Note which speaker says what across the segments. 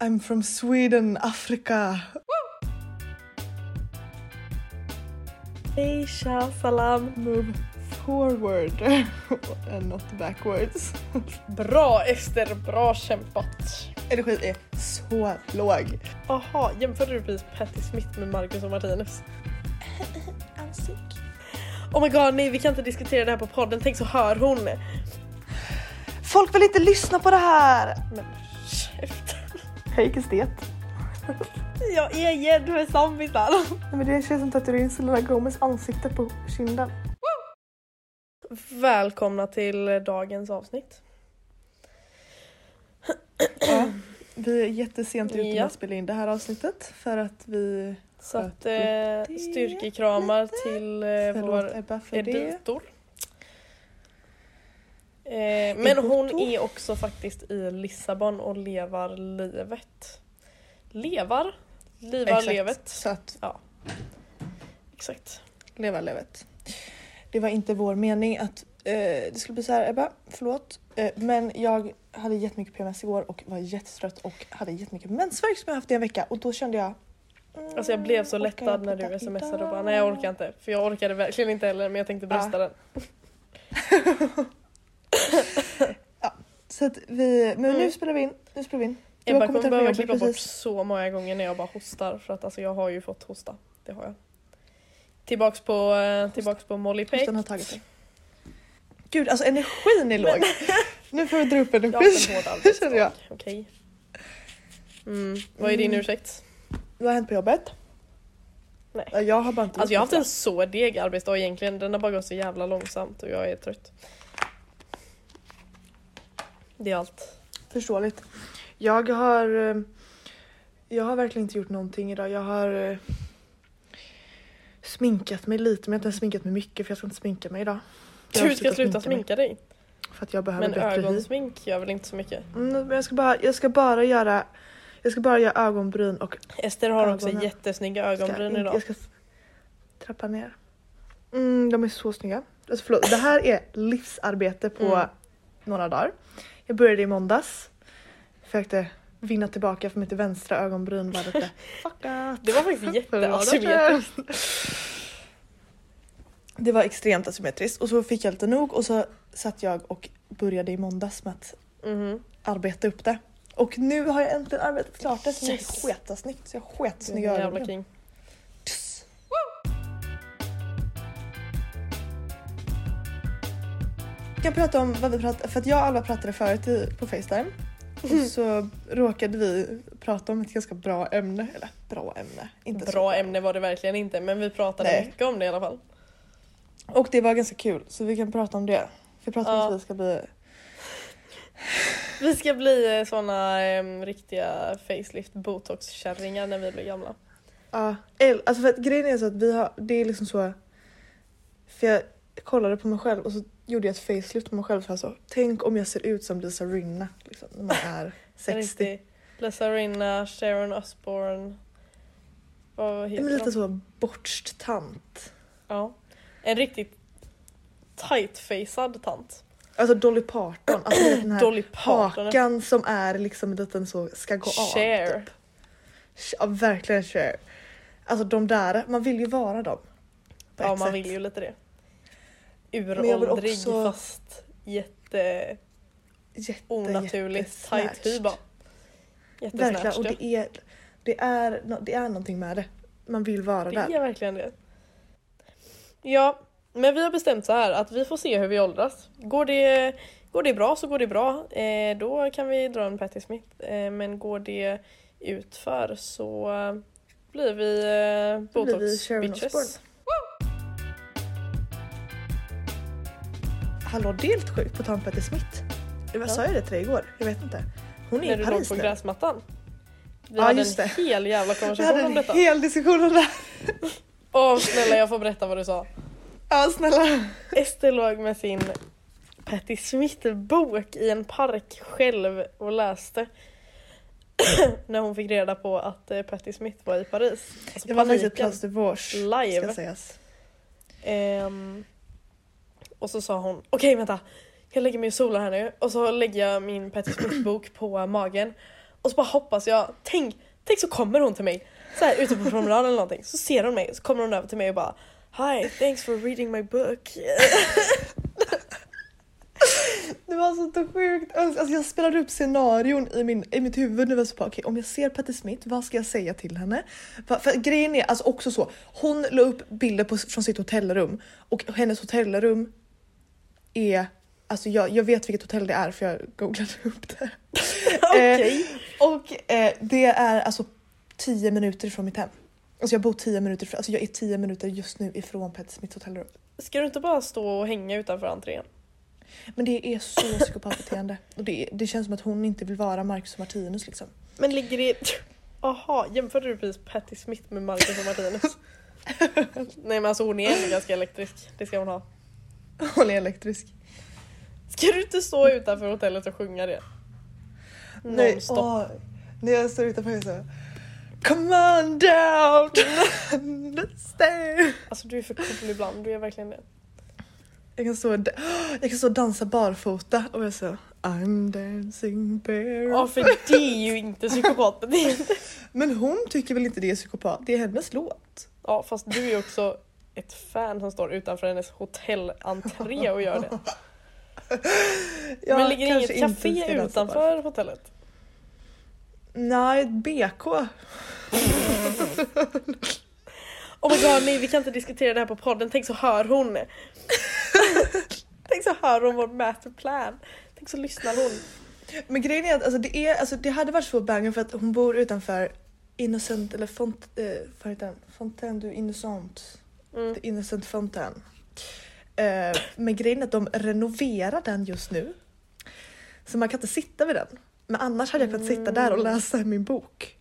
Speaker 1: I'm from Sweden, Afrika.
Speaker 2: Hej, tja, salam.
Speaker 1: Move forward and not backwards.
Speaker 2: Bra Ester, bra kämpat.
Speaker 1: Energin är så låg.
Speaker 2: Aha, jämför du precis Patti Smith med Marcus och Martinus?
Speaker 1: I'm sick.
Speaker 2: Oh my god, nej vi kan inte diskutera det här på podden, tänk så hör hon.
Speaker 1: Folk vill inte lyssna på det här!
Speaker 2: Men käften.
Speaker 1: Hej estet.
Speaker 2: Jag är gädd för zombiesar.
Speaker 1: Nej men det är en tjej som tatuerar in Selena Gomez ansikte på kinden.
Speaker 2: Välkomna till dagens avsnitt.
Speaker 1: Ja, vi är jättesent ute med
Speaker 2: Ja.
Speaker 1: att spela in det här avsnittet för att vi...
Speaker 2: Så att eh, styrkekramar till eh,
Speaker 1: Förlåt
Speaker 2: vår
Speaker 1: Ebba för det.
Speaker 2: editor. Eh, men hon
Speaker 1: Editor.
Speaker 2: är också faktiskt i Lissabon och levar livet. Levar? Livar
Speaker 1: Exakt.
Speaker 2: levet.
Speaker 1: Så att
Speaker 2: Exakt.
Speaker 1: leva levet. Det var inte vår mening att eh, det skulle bli så här Ebba, förlåt. Eh, men jag hade jättemycket PMS igår och var jättetrött och hade jättemycket mensvärk som jag haft i en vecka och då kände jag mm,
Speaker 2: Alltså jag blev så
Speaker 1: orkar jag
Speaker 2: lättad när
Speaker 1: podda
Speaker 2: du smsade och
Speaker 1: idag?
Speaker 2: bara nej jag orkar inte. För jag orkade verkligen inte heller men jag tänkte brösta
Speaker 1: Ah.
Speaker 2: den.
Speaker 1: Så att vi, men nu
Speaker 2: Mm.
Speaker 1: spelar vi in. Nu spelar vi in. Du har
Speaker 2: Ebba
Speaker 1: kommit
Speaker 2: kommer
Speaker 1: hem från
Speaker 2: behöva
Speaker 1: jobbet
Speaker 2: klippa bort
Speaker 1: precis.
Speaker 2: så många gånger när jag bara hostar för att alltså jag har ju fått hosta. Det har jag. Tillbaks på, eh, tillbaks på Molly Peck.
Speaker 1: Hostan har tagit dig. Gud alltså energin är låg. nu får vi dra upp
Speaker 2: Jag har
Speaker 1: energin.
Speaker 2: haft en hård
Speaker 1: känner jag.
Speaker 2: arbetsdag. Okej. Mm. Vad är din
Speaker 1: Mm.
Speaker 2: ursäkt?
Speaker 1: Vad har hänt på jobbet?
Speaker 2: Nej.
Speaker 1: Ja, Jag har bara inte
Speaker 2: Alltså
Speaker 1: gjort
Speaker 2: jag har haft
Speaker 1: något.
Speaker 2: en så deg arbetsdag egentligen. Den har bara gått så jävla långsamt och jag är trött. Det är allt.
Speaker 1: Förståeligt. Jag har... eh, Jag har verkligen inte gjort någonting idag. Jag har eh, sminkat mig lite men jag har inte ens sminkat mig mycket för jag ska inte sminka mig idag. Jag har
Speaker 2: Du ska sluta
Speaker 1: mig
Speaker 2: sminka dig.
Speaker 1: För att jag behöver
Speaker 2: Men
Speaker 1: bättre hy.
Speaker 2: ögonsmink gör väl inte så mycket?
Speaker 1: Mm, men jag, ska bara, jag ska bara göra... Jag ska bara göra ögonbryn och...
Speaker 2: Ester har också
Speaker 1: Ögonen.
Speaker 2: jättesnygga
Speaker 1: ska,
Speaker 2: ögonbryn
Speaker 1: inte-
Speaker 2: idag.
Speaker 1: jag ska s- trappa ner. Mm, de är så snygga. Alltså förlåt, det här är livsarbete på
Speaker 2: Mm.
Speaker 1: några dagar. Jag började i måndags. Försökte vinna tillbaka för mitt vänstra ögonbryn var lite fuckat.
Speaker 2: Det var faktiskt
Speaker 1: ah, För några dagar
Speaker 2: jätteasymmetriskt.
Speaker 1: sedan. Det var extremt asymmetriskt och så fick jag lite nog och så satt jag och började i måndags med att
Speaker 2: Mhm.
Speaker 1: arbeta upp det. Och nu har jag äntligen arbetat klart det så nu är det
Speaker 2: Yes.
Speaker 1: sketasnyggt. Så jag har
Speaker 2: Du är en
Speaker 1: sketsnygga
Speaker 2: jävla
Speaker 1: ögonbryn.
Speaker 2: king.
Speaker 1: Tss. Jag kan prata om vad vi pratade, för att jag och Alva pratade förut i, på Facetime. Och så råkade vi prata om ett ganska bra ämne, eller bra ämne. Inte så.
Speaker 2: Bra ämne var det verkligen inte men vi pratade
Speaker 1: Nej.
Speaker 2: mycket om det i alla fall.
Speaker 1: Och det var ganska kul så vi kan prata om det. Vi pratade om
Speaker 2: Ja.
Speaker 1: att vi ska bli...
Speaker 2: Vi ska bli eh, såna em, riktiga facelift botox-kärringar när vi blir gamla.
Speaker 1: Ja, el- alltså för att grejen är så att vi har, det är liksom så... För jag kollade på mig själv och så gjorde jag ett facelift på mig själv så jag sa tänk om jag ser ut som Lisa Rinna liksom, när man är 60.
Speaker 2: Riktig Lisa Rinna, Sharon Osbourne. Vad
Speaker 1: Ja,
Speaker 2: heter
Speaker 1: Men lite
Speaker 2: de?
Speaker 1: så bortst tant.
Speaker 2: Ja. En riktigt tight-facead tant.
Speaker 1: Alltså Dolly Parton. Alltså du vet den här
Speaker 2: Dolly Parton.
Speaker 1: hakan som är liksom en liten så ska gå av.
Speaker 2: Cher.
Speaker 1: Typ. Ja verkligen Cher. Alltså de där, man vill ju vara dem. På
Speaker 2: Ja
Speaker 1: ett
Speaker 2: man
Speaker 1: sätt.
Speaker 2: vill ju lite det.
Speaker 1: Men jag vill
Speaker 2: Uråldrig
Speaker 1: också-
Speaker 2: fast jätte
Speaker 1: Jätte,
Speaker 2: onaturligt
Speaker 1: jättesnatched.
Speaker 2: tajt hy bara.
Speaker 1: Verkligen och
Speaker 2: Jättesnatched.
Speaker 1: det är, det, är, nå- det är någonting med det. Man vill vara
Speaker 2: Det
Speaker 1: där.
Speaker 2: är verkligen det. Ja, men vi har bestämt så här att vi får se hur vi åldras. Går det, går det bra så går det bra. Eh, då kan vi dra en Patti Smith. Eh, men går det utför så eh, blir vi eh,
Speaker 1: Då blir vi
Speaker 2: botox
Speaker 1: Sharon Osbourne.
Speaker 2: bitches.
Speaker 1: Hallå det är lite sjukt på Tom Patti Smith. Jag sa
Speaker 2: Ja.
Speaker 1: ju det till dig igår? Jag vet inte. Hon är
Speaker 2: När
Speaker 1: i
Speaker 2: du låg
Speaker 1: Paris
Speaker 2: på
Speaker 1: nu.
Speaker 2: gräsmattan. Vi
Speaker 1: Ja,
Speaker 2: hade en
Speaker 1: just det.
Speaker 2: hel jävla
Speaker 1: Vi hade
Speaker 2: konversation om
Speaker 1: en
Speaker 2: detta.
Speaker 1: hel diskussion om det här.
Speaker 2: Åh snälla jag får berätta vad du sa.
Speaker 1: Ja snälla.
Speaker 2: Ester låg med sin Patti Smith-bok i en park själv och läste. när hon fick reda på att eh, Patti Smith var i Paris. Alltså
Speaker 1: Det var faktiskt ett
Speaker 2: paniken.
Speaker 1: Place de Vosges,
Speaker 2: Live.
Speaker 1: ska sägas.
Speaker 2: Ehm, och så sa hon, okej vänta. Jag lägger mig och solar här nu och så lägger jag min Patti Smith-bok på magen. Och så bara hoppas jag, tänk, tänk så kommer hon till mig. Så här ute på promenaden eller någonting. Så ser hon mig så kommer hon över till mig och bara Hi, thanks for reading my book.
Speaker 1: Det var så sjukt. Alltså jag spelade upp scenarion i, min, i mitt huvud. Nu var jag så bara, okej, om jag ser Patti Smith, vad ska jag säga till henne? För, för grejen är alltså också så, hon la upp bilder på, från sitt hotellrum och hennes hotellrum är, alltså jag, jag vet vilket hotell det är för jag googlade upp det. Eh,
Speaker 2: Okej.
Speaker 1: Och eh, det är alltså 10 minuter ifrån mitt hem. Alltså jag bor 10 minuter ifrån, alltså jag är 10 minuter just nu ifrån Patti Smiths hotellrum.
Speaker 2: Ska du inte bara stå och hänga utanför entrén?
Speaker 1: Men det är så psykopatbeteende. Och det, det känns som att hon inte vill vara Marcus och Martinus liksom.
Speaker 2: Men ligger det... Aha, jämförde du precis Patti Smith med Marcus och Martinus? Nej men alltså hon är ändå ganska elektrisk, det ska hon ha.
Speaker 1: Hon är elektrisk.
Speaker 2: Ska du inte stå utanför hotellet och sjunga det?
Speaker 1: Nej,
Speaker 2: Nonstop.
Speaker 1: åh, när jag står utanför jag så Come on down! Let's stay.
Speaker 2: Alltså du är för cool ibland, du är verkligen det.
Speaker 1: Jag kan, stå, och da- jag kan stå och dansa barfota och jag så I'm dancing
Speaker 2: Ja
Speaker 1: barefoot.
Speaker 2: för det är ju inte psykopatbeteende.
Speaker 1: Men hon tycker väl inte det är psykopat? Det är hennes låt.
Speaker 2: Ja fast du är också ett fan som står utanför hennes hotellentré och gör det. men
Speaker 1: Jag
Speaker 2: ligger det
Speaker 1: kanske
Speaker 2: inget
Speaker 1: inte
Speaker 2: café
Speaker 1: ska dansa barfota.
Speaker 2: utanför hotellet?
Speaker 1: Nej, BK.
Speaker 2: Oh my god nej vi kan inte diskutera det här på podden, tänk så hör hon. tänk så hör hon vår masterplan. Tänk så lyssnar hon.
Speaker 1: Men grejen är att alltså, det, är, alltså, det hade varit så banger för att hon bor utanför Innocent eller font, eh, vad heter den? Fontaine du Innocent.
Speaker 2: Mm.
Speaker 1: The Innocent Fontaine. Eh, men grejen är att de renoverar den just nu. Så man kan inte sitta vid den. Men annars hade jag kunnat sitta där och läsa min bok.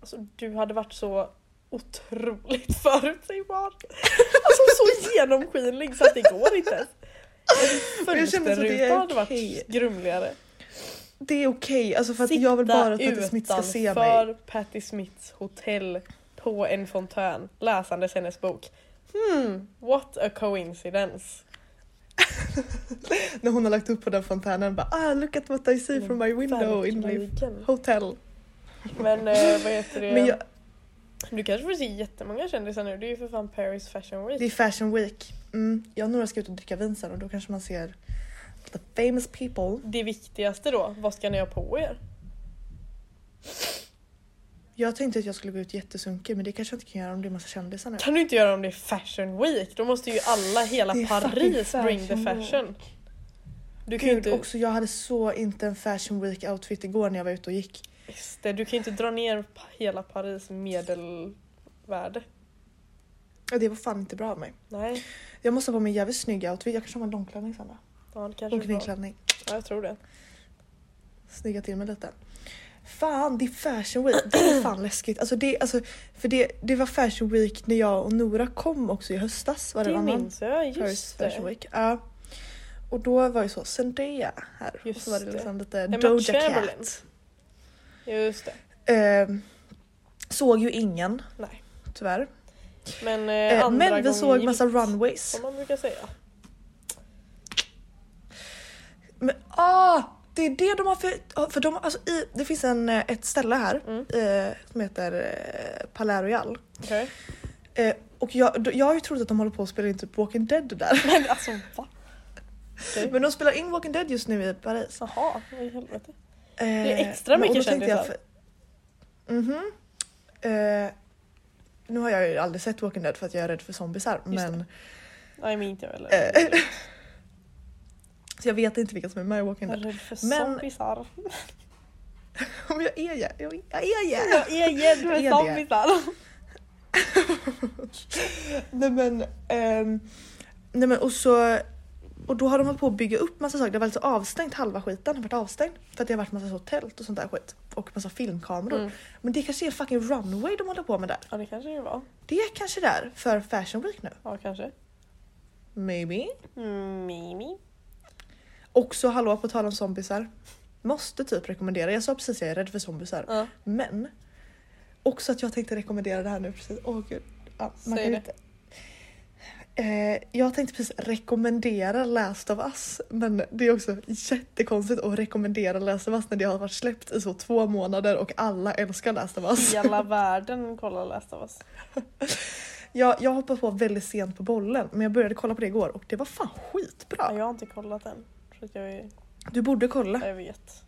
Speaker 2: Alltså, du hade varit så otroligt förutsägbar. Alltså så genomskinlig så att det går inte ens.
Speaker 1: Men jag känner så att det är
Speaker 2: Fönsterrutan hade
Speaker 1: okej.
Speaker 2: varit grumligare.
Speaker 1: Det är okej, alltså för att jag vill bara att Patti Smith ska se mig.
Speaker 2: utanför Patti Smiths hotell på en fontän läsandes hennes bok. Hmm, what a coincidence.
Speaker 1: När hon har lagt upp på den fontänen bara ah look at what I see from my window in my
Speaker 2: Verkligen.
Speaker 1: hotel.
Speaker 2: Men eh, vad heter det?
Speaker 1: Men jag,
Speaker 2: Du kanske får se jättemånga kändisar nu. Det är ju för fan Paris Fashion Week.
Speaker 1: Det är fashion week. Mm. Jag och Nora ska ut och dricka vin sen och då kanske man ser the famous people.
Speaker 2: Det viktigaste då, vad ska ni ha på er?
Speaker 1: Jag tänkte att jag skulle gå ut jättesunkig men det kanske jag inte kan göra om det är massa kändisar nu.
Speaker 2: kan du inte göra om det är fashion week. Då måste ju alla, hela
Speaker 1: Det är
Speaker 2: Paris
Speaker 1: fucking
Speaker 2: bring the
Speaker 1: fashion
Speaker 2: fashion. Du kan ju
Speaker 1: Gud,
Speaker 2: inte,
Speaker 1: också jag hade så inte en fashion week outfit igår när jag var ute och gick.
Speaker 2: Just det, du kan ju inte dra ner pa- hela Paris medelvärde.
Speaker 1: Ja, Det var fan inte bra av mig.
Speaker 2: Nej,
Speaker 1: Jag måste ha på mig en jävligt snygg outfit. Jag kanske har en långklänning sen då.
Speaker 2: ja, det kanske är bra.
Speaker 1: Långklänning.
Speaker 2: Ja, jag tror det.
Speaker 1: Snygga till mig lite. Fan, det är fashion week. Det är fan läskigt. Alltså det, alltså, för det, det var fashion week när jag och Nora kom också i höstas. Var det,
Speaker 2: Det
Speaker 1: varannan?
Speaker 2: minns jag,
Speaker 1: Paris
Speaker 2: just
Speaker 1: Fashion
Speaker 2: det.
Speaker 1: Week. Ja. Och då var ju så Zendaya här och
Speaker 2: Just
Speaker 1: så var det
Speaker 2: det.
Speaker 1: liksom lite
Speaker 2: Emma
Speaker 1: Doja
Speaker 2: Chamberlain.
Speaker 1: Cat.
Speaker 2: Just det.
Speaker 1: Ehm, såg ju ingen
Speaker 2: Nej.
Speaker 1: tyvärr.
Speaker 2: Men,
Speaker 1: Eh,
Speaker 2: eh, andra
Speaker 1: men vi
Speaker 2: gången
Speaker 1: såg
Speaker 2: gilt,
Speaker 1: massa runways.
Speaker 2: Som man brukar säga.
Speaker 1: Men, ah, det är det de har för... ja, för de, har- alltså, i, det finns en, eh, ett ställe här
Speaker 2: Mm.
Speaker 1: eh, som heter eh, Palais Royal.
Speaker 2: Okej.
Speaker 1: Eh, och jag, då- jag har ju trott att de håller på att spela in typ Walking Dead där.
Speaker 2: Men alltså va? Okej.
Speaker 1: Men de spelar in Walking Dead just nu i Paris.
Speaker 2: Jaha, vad i helvete.
Speaker 1: Eh,
Speaker 2: är extra
Speaker 1: men- och
Speaker 2: mycket
Speaker 1: då tänkte jag
Speaker 2: kändisar.
Speaker 1: för- Mhm. Eh, nu har jag ju aldrig sett Walking Dead för att jag är rädd för zombisar.
Speaker 2: Just det.
Speaker 1: Men,
Speaker 2: Nej men inte jag heller.
Speaker 1: Eh, så jag vet inte vilka som är med i Walking
Speaker 2: Jag är
Speaker 1: Dead.
Speaker 2: rädd för
Speaker 1: Men-
Speaker 2: zombiesar.
Speaker 1: Men jag är ju, jag, jag är ju.
Speaker 2: Jag är rädd
Speaker 1: Är det?
Speaker 2: för zombiesar.
Speaker 1: Nej men, ehm, nej men och så och då har de hållit på att bygga upp massa saker. Det var alltså avstängt halva skiten. har varit avstängd för att det har varit massa så tält och sånt där skit och massa filmkameror.
Speaker 2: Mm.
Speaker 1: Men det kanske är fucking runway de håller på med där.
Speaker 2: Ja det kanske det var.
Speaker 1: Det är kanske där för Fashion Week nu.
Speaker 2: Ja kanske. Mm,
Speaker 1: Maybe.
Speaker 2: Mimi.
Speaker 1: Också hallå på tal om zombisar. Måste typ rekommendera. Jag sa precis att jag är rädd för zombisar.
Speaker 2: Ja.
Speaker 1: Men också att jag tänkte rekommendera det här nu precis. Åh gud. Ja, man kan
Speaker 2: Säg
Speaker 1: ju
Speaker 2: det.
Speaker 1: inte. Eh, jag tänkte precis rekommendera Last of Us, men det är också jättekonstigt att rekommendera Last of Us när det har varit släppt i så två månader och alla älskar Last of Us.
Speaker 2: Hela världen kollar Last of Us.
Speaker 1: Jag, jag hoppade på väldigt sent på bollen, men jag började kolla på det igår och det var fan skitbra.
Speaker 2: Jag har inte kollat än. Så att jag, är-
Speaker 1: Du borde kolla.
Speaker 2: jag vet.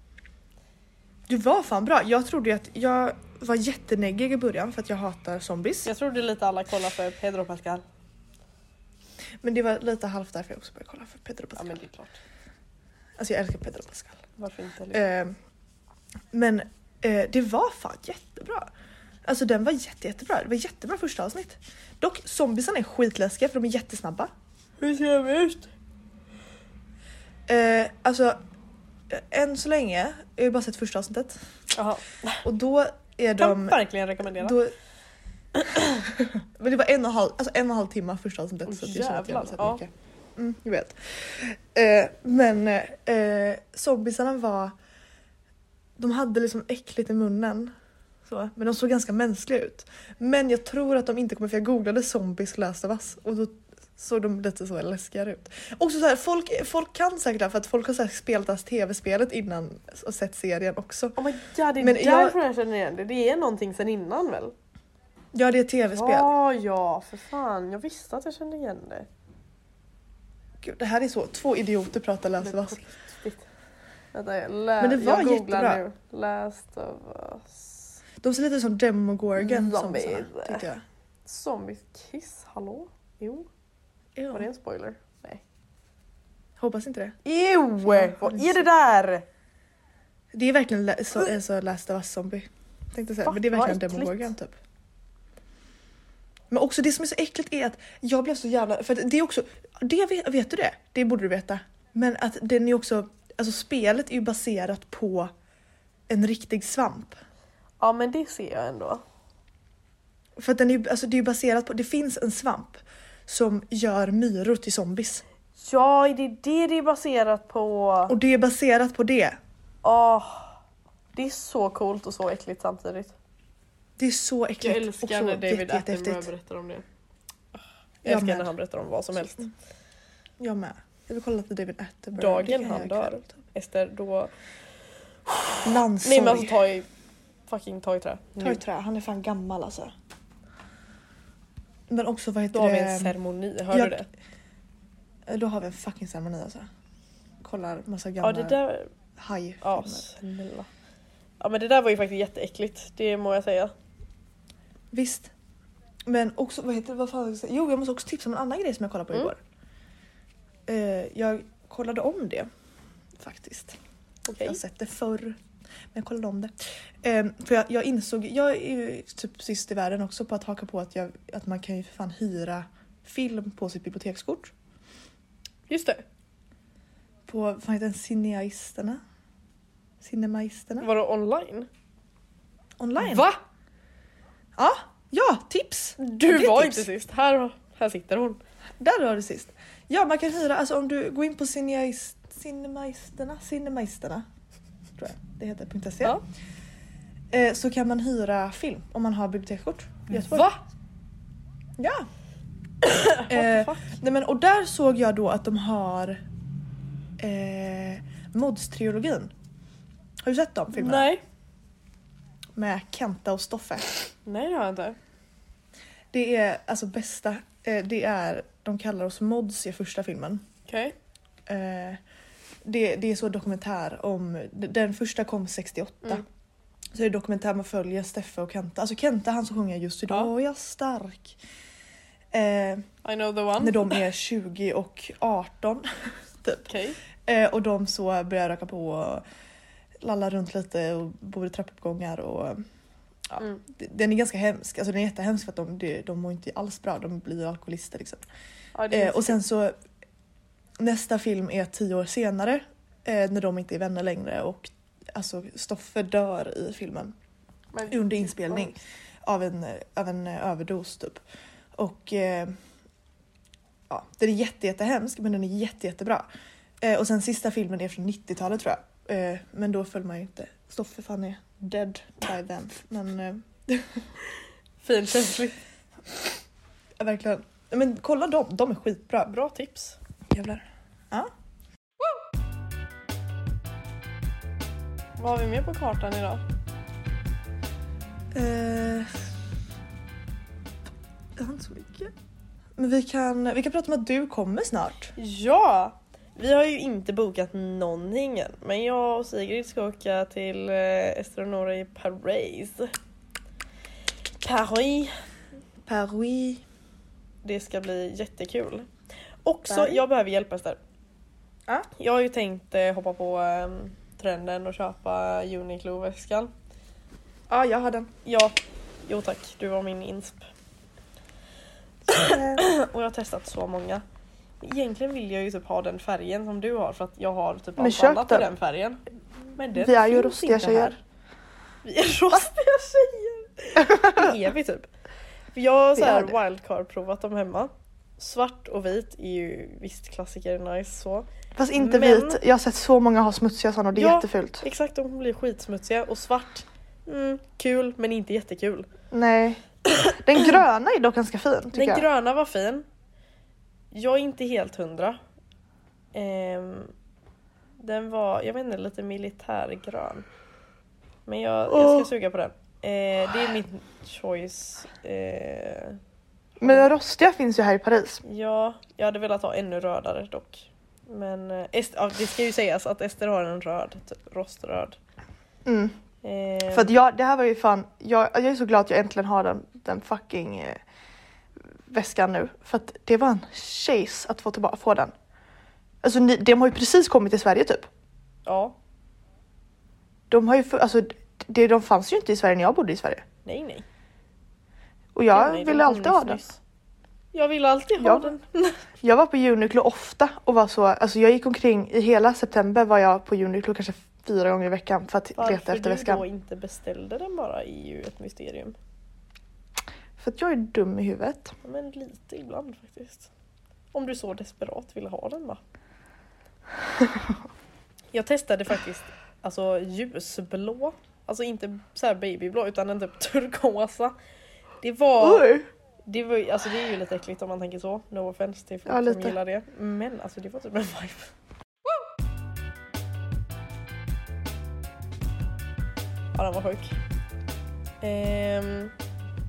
Speaker 1: Du var fan bra. Jag trodde ju att jag var jätteneggig i början för att jag hatar zombies.
Speaker 2: Jag trodde lite alla kollar för Pedro Pascal.
Speaker 1: Men det var lite halvt därför jag också började kolla för Pedro
Speaker 2: Ja
Speaker 1: Pascal.
Speaker 2: men det är klart.
Speaker 1: Alltså jag älskar Pedro Pascal.
Speaker 2: Varför inte? Liksom?
Speaker 1: Eh, men eh, det var fan jättebra. Alltså den var jätte, jättebra. Det var jättebra första avsnitt. Dock, zombiesarna är skitläskiga för de är jättesnabba.
Speaker 2: Hur ser de ut?
Speaker 1: Eh, alltså, eh, än så länge, jag har ju bara sett första avsnittet.
Speaker 2: Jaha.
Speaker 1: Och då är
Speaker 2: Kan
Speaker 1: de...
Speaker 2: verkligen rekommendera.
Speaker 1: Då... Men det var en och en halv, alltså en och en halv timme första avsnittet.
Speaker 2: Åh,
Speaker 1: så att jag känner att jag har sett
Speaker 2: jävlar, ja.
Speaker 1: mycket. Mm, jag vet. Eh, men eh, zombisarna var... De hade liksom äckligt i munnen. Så, men de såg ganska mänskliga ut. Men jag tror att de inte kommer, för jag googlade zombies Last of Us och då såg de lite så läskigare ut. Också så här, folk, folk kan säkert det här, för att folk har så här spelat det här tv-spelet innan och sett serien också.
Speaker 2: Oh my god, det är
Speaker 1: Men jag-
Speaker 2: därför jag... känner igen det. Det är någonting sen innan väl?
Speaker 1: Ja, det är ett tv-spel.
Speaker 2: Ja, ja, för fan. Jag visste att jag kände igen det.
Speaker 1: Gud, det här är så, två idioter pratar Last of Us.
Speaker 2: på riktigt. Vänta, jag, lä-
Speaker 1: Men det var
Speaker 2: jag googlar
Speaker 1: jättebra.
Speaker 2: nu. Last of us.
Speaker 1: De ser lite som Demogorgon som
Speaker 2: Mm, Zombies.
Speaker 1: såna, tyckte jag.
Speaker 2: Zombies kiss, hallå? Jo, var det en spoiler? Nej.
Speaker 1: Hoppas inte det.
Speaker 2: Ew! Vad är det där?
Speaker 1: Det är verkligen la- så, är så Last of Us zombie. Tänkte säga.
Speaker 2: Va?
Speaker 1: Men det är verkligen
Speaker 2: Vad äckligt.
Speaker 1: Demogorgon typ. Men också det som är så äckligt är att jag blev så jävla... För att det är också... Det vet, vet du det? Det borde du veta. Men att den är också... Alltså spelet är ju baserat på en riktig svamp.
Speaker 2: Ja, men det ser jag ändå.
Speaker 1: För att den är ju alltså, det är ju baserat på... Det finns en svamp som gör myror till zombies.
Speaker 2: Ja, det är det det är baserat på.
Speaker 1: Och det är baserat på det.
Speaker 2: Åh, det är så coolt och så äckligt samtidigt.
Speaker 1: Det är så äckligt.
Speaker 2: Jag
Speaker 1: och så
Speaker 2: älskar när David
Speaker 1: jätte-
Speaker 2: Attenborough
Speaker 1: jättehäftigt.
Speaker 2: berättar om det. Jag
Speaker 1: Jag
Speaker 2: älskar
Speaker 1: med.
Speaker 2: när han berättar om vad som helst.
Speaker 1: Jag med. Jag vill kolla lite David Attenborough.
Speaker 2: Dagen
Speaker 1: Det kan jag göra
Speaker 2: han dör.
Speaker 1: ikväll, typ.
Speaker 2: Ester, då...
Speaker 1: Landsorg.
Speaker 2: Nej men alltså ta i... Fucking ta i trä.
Speaker 1: Ta i
Speaker 2: Nu.
Speaker 1: trä, han är fan gammal alltså. Men också vad heter
Speaker 2: Då har vi en
Speaker 1: det?
Speaker 2: ceremoni, hör
Speaker 1: jag-
Speaker 2: du det?
Speaker 1: Då har vi en fucking ceremoni alltså. Kollar massa
Speaker 2: Ja
Speaker 1: gamla
Speaker 2: det där... Ja
Speaker 1: hajfilmer.
Speaker 2: snälla. Ja men det där var ju faktiskt jätteäckligt, det må jag säga.
Speaker 1: Visst. Men också, vad heter det? Vad fan ska jag säga? Jo, jag måste också tipsa om en annan grej som jag kollade på
Speaker 2: Mm.
Speaker 1: igår. Eh, jag kollade om det faktiskt.
Speaker 2: Okej.
Speaker 1: Jag har sett det förr. Men jag kollade om det. Ehm, för jag, jag insåg, jag är ju typ sist i världen också på att haka på att, jag, att man kan ju för fan hyra film på sitt bibliotekskort.
Speaker 2: Just det.
Speaker 1: På, vad heter den, Cineaisterna? Cinemaisterna?
Speaker 2: Var det online?
Speaker 1: Mm. Online?
Speaker 2: Va?
Speaker 1: Ja, ja, tips!
Speaker 2: Du
Speaker 1: Det är
Speaker 2: var
Speaker 1: tips.
Speaker 2: inte sist. Här, här sitter hon.
Speaker 1: Där har du sist. Ja, man kan hyra, alltså om du går in på Cineaist, Cinemaisterna, Cinemaisterna, tror jag det heter, .se.
Speaker 2: Ja.
Speaker 1: Eh, så kan man hyra film om man har bibliotekskort. i Göteborg.
Speaker 2: Va?
Speaker 1: Ja.
Speaker 2: the
Speaker 1: eh, nej men, och där såg jag då att de har eh, Mods-trilogin. Har du sett de filmerna?
Speaker 2: Nej.
Speaker 1: Med Kenta och Stoffe.
Speaker 2: Nej det har jag inte.
Speaker 1: Det är alltså bästa. Eh, det är, de kallar oss Mods i första filmen.
Speaker 2: Okej.
Speaker 1: Eh, det, det är så dokumentär om, den första kom 68.
Speaker 2: Mm.
Speaker 1: Så det är dokumentär man följer Steffe och Kenta. Alltså Kenta han som sjunger just idag
Speaker 2: Ja.
Speaker 1: är jag stark. Eh,
Speaker 2: I know the
Speaker 1: när
Speaker 2: one.
Speaker 1: de är 20 och 18.
Speaker 2: Okej.
Speaker 1: Eh, och de så börjar röka på och lalla runt lite och bor i trappuppgångar. Och, ja,
Speaker 2: Mm.
Speaker 1: d- Den är ganska hemsk, alltså den är jättehemsk för att de, de, de mår inte alls bra, de blir alkoholister liksom.
Speaker 2: Ja, det är
Speaker 1: Eh, och sen så nästa film är tio år senare eh, när de inte är vänner längre och alltså Stoffe dör i filmen
Speaker 2: Men-
Speaker 1: under inspelning av en, av en eh, överdos typ. Och eh, ja, den är jätte, jättehemsk men den är jätte, jättebra. Eh, och sen sista filmen är från 90-talet tror jag. Eh, men då föll man ju inte. Stoffe fan är dead by then. Men eh,
Speaker 2: Finkänsligt.
Speaker 1: Ja, Verkligen. Men kolla dem, de är skitbra.
Speaker 2: Bra tips.
Speaker 1: Jävlar.
Speaker 2: Vad har vi mer på kartan idag?
Speaker 1: Eh, jag har inte så mycket. Men vi kan, vi kan prata om att du kommer snart.
Speaker 2: Ja! Vi har ju inte bokat någonting än, men jag och Sigrid ska åka till eh, Esther och Nora i Paris. Paris.
Speaker 1: Paris.
Speaker 2: Det ska bli jättekul. Också,
Speaker 1: Paris.
Speaker 2: jag behöver hjälp Ester.
Speaker 1: Ja.
Speaker 2: Jag har ju tänkt eh, hoppa på eh, trenden och köpa Uniqlo-väskan.
Speaker 1: Ja, jag har den.
Speaker 2: Ja, jo tack, du var min insp. Och jag har testat så många. Egentligen vill jag ju typ ha den färgen som du har för att jag har typ
Speaker 1: Men
Speaker 2: allt
Speaker 1: köp
Speaker 2: annat i
Speaker 1: den.
Speaker 2: den färgen. Men den
Speaker 1: Vi är ju
Speaker 2: finns
Speaker 1: rostiga
Speaker 2: inte
Speaker 1: tjejer.
Speaker 2: här. Vi är rostiga tjejer! Det är vi typ. För jag har
Speaker 1: Vi
Speaker 2: så
Speaker 1: är
Speaker 2: här
Speaker 1: det.
Speaker 2: wildcard provat dem hemma. Svart och vit är ju visst klassiker, nice så.
Speaker 1: Fast inte
Speaker 2: Men-
Speaker 1: vit. Jag har sett så många ha smutsiga sådana och det är
Speaker 2: Ja.
Speaker 1: jättefult.
Speaker 2: Exakt, de blir skitsmutsiga och svart, mm, kul men inte jättekul.
Speaker 1: Nej. Den gröna är dock ganska fin tycker
Speaker 2: Den
Speaker 1: jag.
Speaker 2: gröna var fin. Jag är inte helt hundra. Ehm, den var, jag vet inte, lite militärgrön. Men jag, jag
Speaker 1: Åh.
Speaker 2: ska suga på den. Eh, det är min choice. Eh,
Speaker 1: Men den rostiga finns ju här i Paris.
Speaker 2: ja, jag hade velat ha ännu rödare dock. Men eh, Est- ja, det ska ju sägas att Ester har en röd, typ roströd.
Speaker 1: Mm.
Speaker 2: Ehm,
Speaker 1: För att jag, det här var ju fan, jag, jag är så glad att jag äntligen har den, den fucking eh, väskan nu. För att det var en chase att få, tillbaka, få den. Alltså ni, de har ju precis kommit till Sverige typ.
Speaker 2: Ja,
Speaker 1: De har ju, fu- alltså det, de fanns ju inte i Sverige när jag bodde i Sverige.
Speaker 2: nej nej.
Speaker 1: Och jag
Speaker 2: Ja, nej, de
Speaker 1: ville
Speaker 2: kom
Speaker 1: alltid ha
Speaker 2: nyss,
Speaker 1: den.
Speaker 2: nyss. Jag ville alltid ha
Speaker 1: Ja.
Speaker 2: den.
Speaker 1: Jag var på Uniqlo ofta och var så, alltså jag gick omkring i hela september var jag på Uniqlo kanske fyra gånger i veckan för att leta
Speaker 2: Varför
Speaker 1: efter
Speaker 2: du
Speaker 1: väskan.
Speaker 2: då inte beställde den bara är ju ett mysterium.
Speaker 1: För att jag är dum i huvudet.
Speaker 2: Men lite ibland faktiskt. Om du så desperat ville ha den va? Jag testade faktiskt alltså ljusblå. Alltså inte så här babyblå utan en typ turkosa. Det var,
Speaker 1: Oj!
Speaker 2: det var ju- alltså det är ju lite äckligt om man tänker så. No offense till folk
Speaker 1: Ja,
Speaker 2: som
Speaker 1: lite.
Speaker 2: gillar det. Men alltså det var typ en vibe. Ja den var sjuk. Ehm,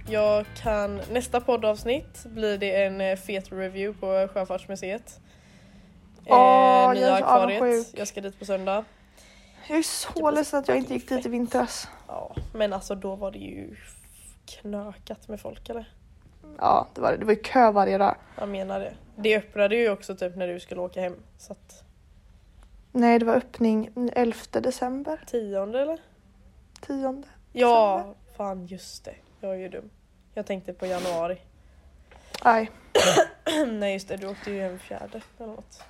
Speaker 2: jag kan, nästa poddavsnitt blir det en eh, fet review på Sjöfartsmuseet. Ehm,
Speaker 1: Åh, jag är
Speaker 2: nya
Speaker 1: så
Speaker 2: akvariet.
Speaker 1: avundsjuk.
Speaker 2: Jag ska dit på söndag.
Speaker 1: Jag är så ledsen att jag inte gick dit i vintras.
Speaker 2: Ja, men alltså då var det ju f- knökat med folk eller?
Speaker 1: Ja, det var det. Det var ju kö varje dag.
Speaker 2: Jag menar det. Det öppnade ju också typ när du skulle åka hem. Så att
Speaker 1: Nej, det var öppning 11 december,
Speaker 2: tionde eller?
Speaker 1: 10.
Speaker 2: Ja, fan just det. Jag är ju dum. Jag tänkte på januari.
Speaker 1: Aj.
Speaker 2: Nej just det, du åkte ju hem fjärde eller något.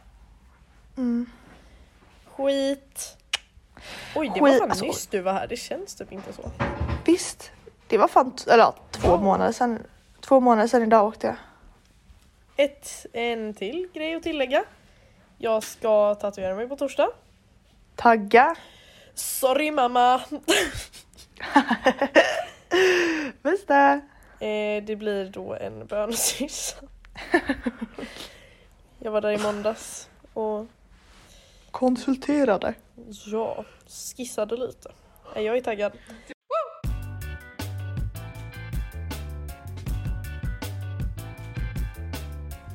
Speaker 1: Mm.
Speaker 2: Skit! Oj det var
Speaker 1: Skit,
Speaker 2: fan
Speaker 1: alltså-
Speaker 2: nyss du var här, det känns typ inte så.
Speaker 1: Visst, det var fan t- eller, ja, två
Speaker 2: Ja.
Speaker 1: månader sedan. Två månader sedan idag åkte jag.
Speaker 2: Ett, en till grej att tillägga. Jag ska tatuera mig på torsdag.
Speaker 1: Tagga.
Speaker 2: Sorry mamma!
Speaker 1: Visst det.
Speaker 2: Eh, det blir då en bönesyssa. Jag var där i måndags och
Speaker 1: Konsulterade.
Speaker 2: ja, skissade lite. Nej, Jag är taggad.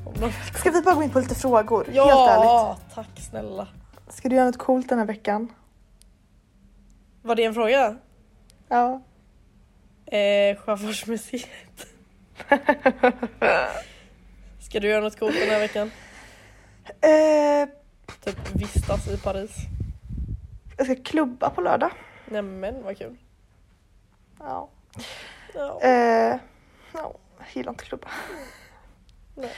Speaker 2: Om någon-
Speaker 1: Ska vi bara gå in på lite frågor? Helt ärligt.
Speaker 2: Ja, tack snälla.
Speaker 1: Ska du göra något coolt den här veckan?
Speaker 2: Var det en fråga?
Speaker 1: Ja.
Speaker 2: Eh, Sjöfartsmuseet. Ska du göra något coolt den här veckan?
Speaker 1: Eh,
Speaker 2: Typ vistas i Paris?
Speaker 1: jag ska klubba på lördag.
Speaker 2: Nämen vad kul.
Speaker 1: Ja.
Speaker 2: Ja.
Speaker 1: Eh, ja, jag gillar inte klubba.
Speaker 2: Nej.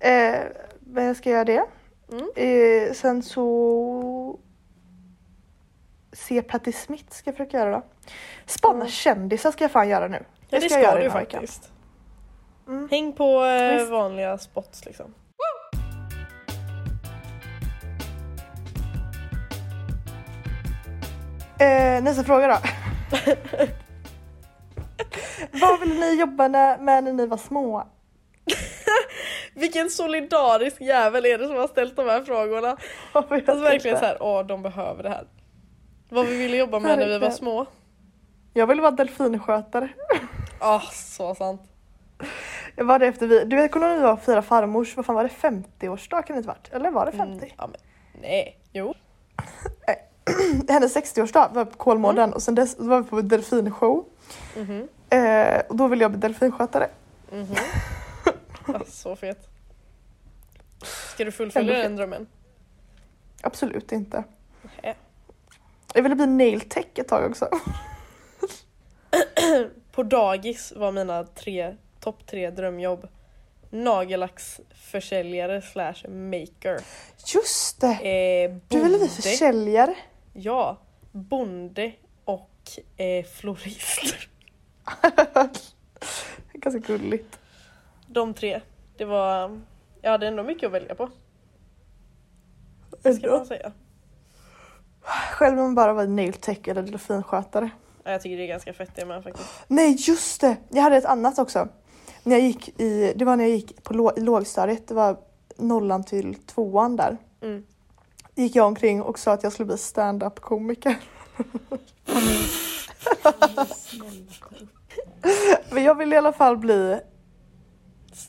Speaker 1: Eh, men jag ska göra det.
Speaker 2: Mm.
Speaker 1: Eh, sen så... Se Patti Smith ska jag försöka göra då. Spana
Speaker 2: Mm.
Speaker 1: kändisar ska jag fan göra nu.
Speaker 2: Ja, det
Speaker 1: ska
Speaker 2: ska,
Speaker 1: jag göra
Speaker 2: du
Speaker 1: den här veckan.
Speaker 2: faktiskt.
Speaker 1: Mm.
Speaker 2: Häng på eh,
Speaker 1: Visst.
Speaker 2: vanliga spots liksom.
Speaker 1: Eh, nästa fråga då. Vad ville ni jobba när- med när ni var små?
Speaker 2: Vilken solidarisk jävel är det som har ställt de här frågorna? Alltså verkligen så här, åh de behöver det här. Vad vi ville jobba med när vi var
Speaker 1: Verkligen.
Speaker 2: små.
Speaker 1: Jag ville vara delfinskötare.
Speaker 2: Ah, så sant.
Speaker 1: Jag var det efter vi, du vet kommer du ihåg när vi var fyra farmors, vad fan var det 50-årsdag kan det inte varit? Eller var det 50?
Speaker 2: Mm, ja, men, nej, jo.
Speaker 1: Hennes 60-årsdag var på Kolmården och sen dess var vi på delfinshow.
Speaker 2: Mhm,
Speaker 1: Eh, och då ville jag bli delfinskötare.
Speaker 2: mhm. ah, så fet. Ska du fullfölja
Speaker 1: Ändå
Speaker 2: den drömmen?
Speaker 1: Absolut inte.
Speaker 2: Nej.
Speaker 1: Jag ville bli nail tech ett tag också.
Speaker 2: På dagis var mina tre, topp tre drömjobb nagellacksförsäljare slash maker.
Speaker 1: Just det!
Speaker 2: Eh,
Speaker 1: Du ville bli
Speaker 2: bonde.
Speaker 1: försäljare.
Speaker 2: Ja, bonde och eh, florist.
Speaker 1: Ganska gulligt.
Speaker 2: De tre. Det var... Jag hade ändå mycket att välja på, ska man
Speaker 1: Ändå.
Speaker 2: säga.
Speaker 1: Själv om man bara var nail tech eller delfinskötare.
Speaker 2: Ja, Jag tycker det är ganska fett det med faktiskt.
Speaker 1: Nej just det! Jag hade ett annat också. När jag gick i, det var när jag gick på lå- i lågstadiet, det var nollan till tvåan där.
Speaker 2: Mm.
Speaker 1: Gick jag omkring och sa att jag skulle bli stand-up komiker. Men jag ville i alla fall bli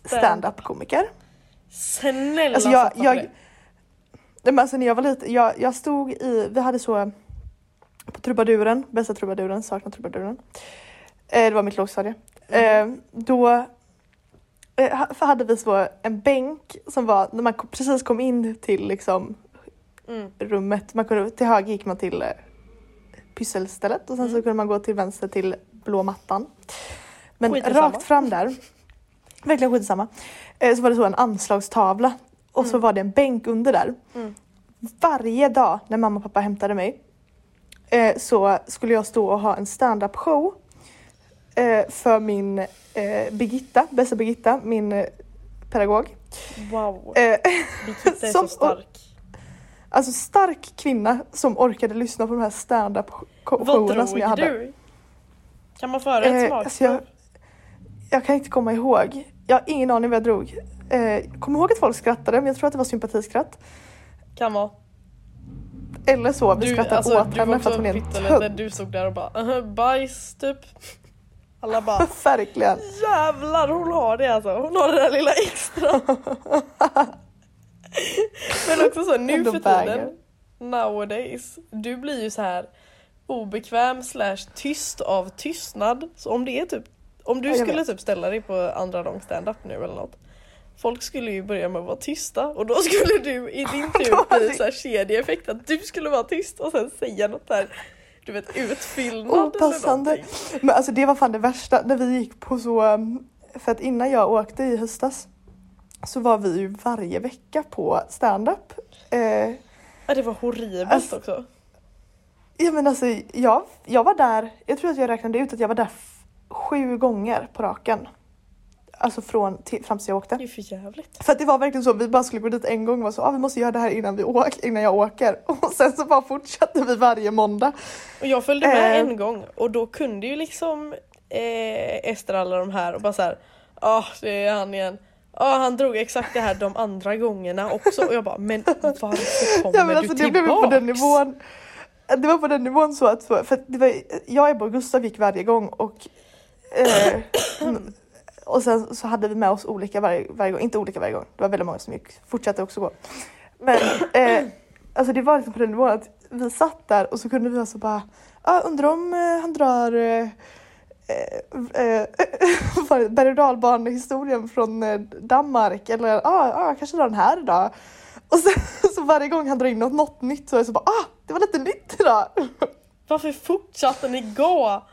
Speaker 1: stand-up komiker.
Speaker 2: Snälla
Speaker 1: Alltså jag,
Speaker 2: satsa på
Speaker 1: jag,
Speaker 2: det.
Speaker 1: Nej, men alltså när jag var liten, jag, jag stod i, vi hade så på trubaduren, bästa trubaduren, saknar trubaduren. Eh, det var mitt lågstadie. Eh, då eh, ha- för hade vi så en bänk som var, när man kom, precis kom in till liksom
Speaker 2: Mm.
Speaker 1: rummet, man kunde, till höger gick man till eh, pysselstället och sen så
Speaker 2: Mm.
Speaker 1: kunde man gå till vänster till blå mattan. Men
Speaker 2: Skitsamma.
Speaker 1: rakt fram där, verkligen skitsamma, eh, så var det så en anslagstavla och så
Speaker 2: Mm.
Speaker 1: var det en bänk under där.
Speaker 2: Mm.
Speaker 1: Varje dag när mamma och pappa hämtade mig eh, så skulle jag stå och ha en stand-up show eh, för min eh, Birgitta, bästa Birgitta, min eh, pedagog.
Speaker 2: Wow,
Speaker 1: Eh,
Speaker 2: Birgitta är
Speaker 1: som-
Speaker 2: så stark.
Speaker 1: Alltså stark kvinna som orkade lyssna på de här stand-up sh-
Speaker 2: Vad
Speaker 1: showerna som jag
Speaker 2: drog
Speaker 1: hade.
Speaker 2: du? Kan man föra ett
Speaker 1: Eh,
Speaker 2: smakprov?
Speaker 1: alltså jag- Jag kan inte komma ihåg. Jag har ingen aning vad jag drog. Eh, jag kommer ihåg att folk skrattade men jag tror att det var sympatiskratt.
Speaker 2: Kan vara.
Speaker 1: Eller så, vi
Speaker 2: Du,
Speaker 1: skrattade
Speaker 2: alltså,
Speaker 1: åt
Speaker 2: du var
Speaker 1: henne för att
Speaker 2: också
Speaker 1: hon är en
Speaker 2: pytteliten,
Speaker 1: tönt.
Speaker 2: du stod där och bara "Aha, bajs typ. Alla bara
Speaker 1: Verkligen.
Speaker 2: jävlar hon har det alltså, hon har det där lilla extra. Men också så nu
Speaker 1: Ändå
Speaker 2: för
Speaker 1: banger.
Speaker 2: tiden, nowadays, du blir ju så här obekväm slash tyst av tystnad. Så om det är typ, om
Speaker 1: Ja,
Speaker 2: du
Speaker 1: jag
Speaker 2: skulle
Speaker 1: vet.
Speaker 2: typ ställa dig på andra lång stand-up nu eller något. Folk skulle ju börja med att vara tysta och då skulle du i din tur bli så här kedjeeffekt att du skulle vara tyst och sen säga något där du vet utfyllnad eller
Speaker 1: Opassande.
Speaker 2: någonting.
Speaker 1: Men alltså det var fan det värsta när vi gick på så... um, För att innan jag åkte i höstas så var vi ju varje vecka på stand-up. Eh,
Speaker 2: Ja, det var horribelt
Speaker 1: Alltså,
Speaker 2: också.
Speaker 1: Ja men alltså jag, jag var där, jag tror att jag räknade ut att jag var där f- sju gånger på raken. Alltså från till, fram tills jag
Speaker 2: Det
Speaker 1: åkte.
Speaker 2: är ju för jävligt.
Speaker 1: För att det var verkligen så, vi bara skulle gå dit en gång och var så, ah, vi måste göra det här innan, vi åk, innan jag åker. Och sen så bara fortsatte vi varje måndag.
Speaker 2: Och jag följde med
Speaker 1: Eh.
Speaker 2: en gång och då kunde ju liksom eh, Ester alla de här och bara så här. ah det är han igen. ah han drog exakt det här de andra gångerna också och jag bara men varför kommer
Speaker 1: Ja men alltså det
Speaker 2: du tillbaks?
Speaker 1: blev ju på den nivån. Det var på den nivån så att, för att det var, jag, Ebba och Gustav gick varje gång och eh, och sen så hade vi med oss olika varje, varje gång, inte olika varje gång, det var väldigt många som gick, fortsatte också gå. Men eh, alltså det var liksom på den nivån att vi satt där och så kunde vi alltså bara, ah, undrar om eh, han drar eh, eh, eh, var- berg och dalbanehistorien från eh, Danmark eller ah, ah, kanske drar den här idag. Och sen, så varje gång han drar in något, något nytt så är det så bara ah, det var lite nytt idag.
Speaker 2: Varför fortsatte ni gå?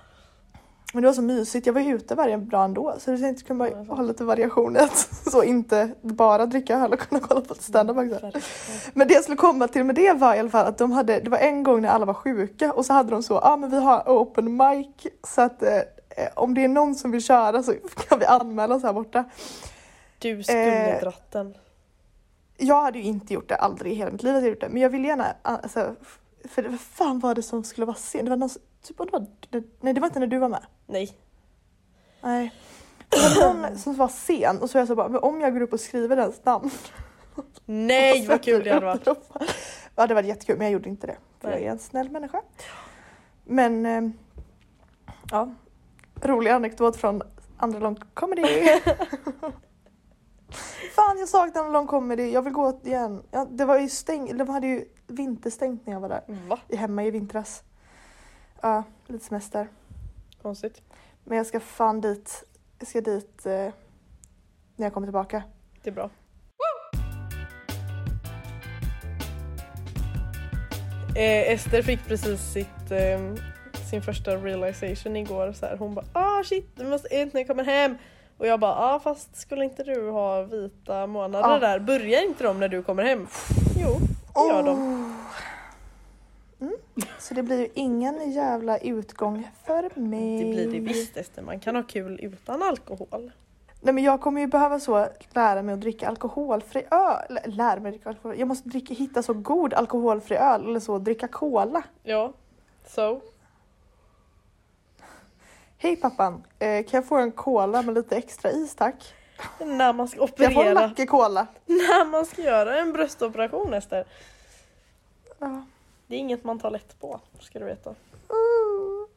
Speaker 1: Men det var så mysigt, jag var ju ute varje dag ändå så jag tänkte kunna
Speaker 2: Ja, det är
Speaker 1: bara
Speaker 2: sant.
Speaker 1: ha lite variation i att så inte bara dricka öl och kunna kolla på standup också. Men det jag skulle komma till med det var i alla fall att de hade, det var en gång när alla var sjuka och så hade de så, ja ah, men vi har open mic så att eh, eh, om det är någon som vill köra så kan vi anmäla oss här borta.
Speaker 2: Du skulle
Speaker 1: Eh.
Speaker 2: dratt den.
Speaker 1: Jag hade ju inte gjort det, aldrig i hela mitt liv hade jag gjort det. Men jag ville gärna, alltså, för det- vad fan var det som skulle vara sen? Det var någon, som- typ, om det var, det, nej det var inte när du var med.
Speaker 2: Nej.
Speaker 1: Nej. Det var någon som var sen och så var jag så bara, men om jag går upp och skriver dens namn.
Speaker 2: Nej vad kul det hade varit.
Speaker 1: Upprop. Ja det var jättekul men jag gjorde inte det. För jag
Speaker 2: Nej.
Speaker 1: är en snäll människa. Men eh, ja, rolig anekdot från andra lång comedy. Fan jag saknar andra lång comedy, jag vill gå igen. Ja, det var ju stäng, de hade ju vinterstängt när jag var där.
Speaker 2: Va?
Speaker 1: i- Hemma i vintras. Ja, lite semester.
Speaker 2: Konstigt.
Speaker 1: Men jag ska fan dit, jag ska dit eh, när jag kommer tillbaka.
Speaker 2: Det är bra. Eh, Ester fick precis sitt, ehm, sin första realization igår. Så här. Hon bara ah shit, du måste ut när jag kommer hem. Och jag bara ah fast skulle inte du ha vita månader
Speaker 1: Ah.
Speaker 2: där? Börjar inte de när du kommer hem? Jo, det gör de.
Speaker 1: Oh. Mm. Så det blir ju ingen jävla utgång för mig.
Speaker 2: Det blir det visst Ester, man kan ha kul utan alkohol.
Speaker 1: Nej men jag kommer ju behöva så lära mig att dricka alkoholfri öl. Eller, Lära mig att dricka alkohol. Jag måste dricka, hitta så god alkoholfri öl eller så dricka cola.
Speaker 2: Ja, so.
Speaker 1: Hej pappan, eh, kan jag få en cola med lite extra is tack?
Speaker 2: När man ska
Speaker 1: Kan jag få en
Speaker 2: operera.
Speaker 1: Lucky Cola?
Speaker 2: När man ska göra en bröstoperation Ester.
Speaker 1: Ja.
Speaker 2: Det är inget man tar lätt på, ska du veta.
Speaker 1: Uh,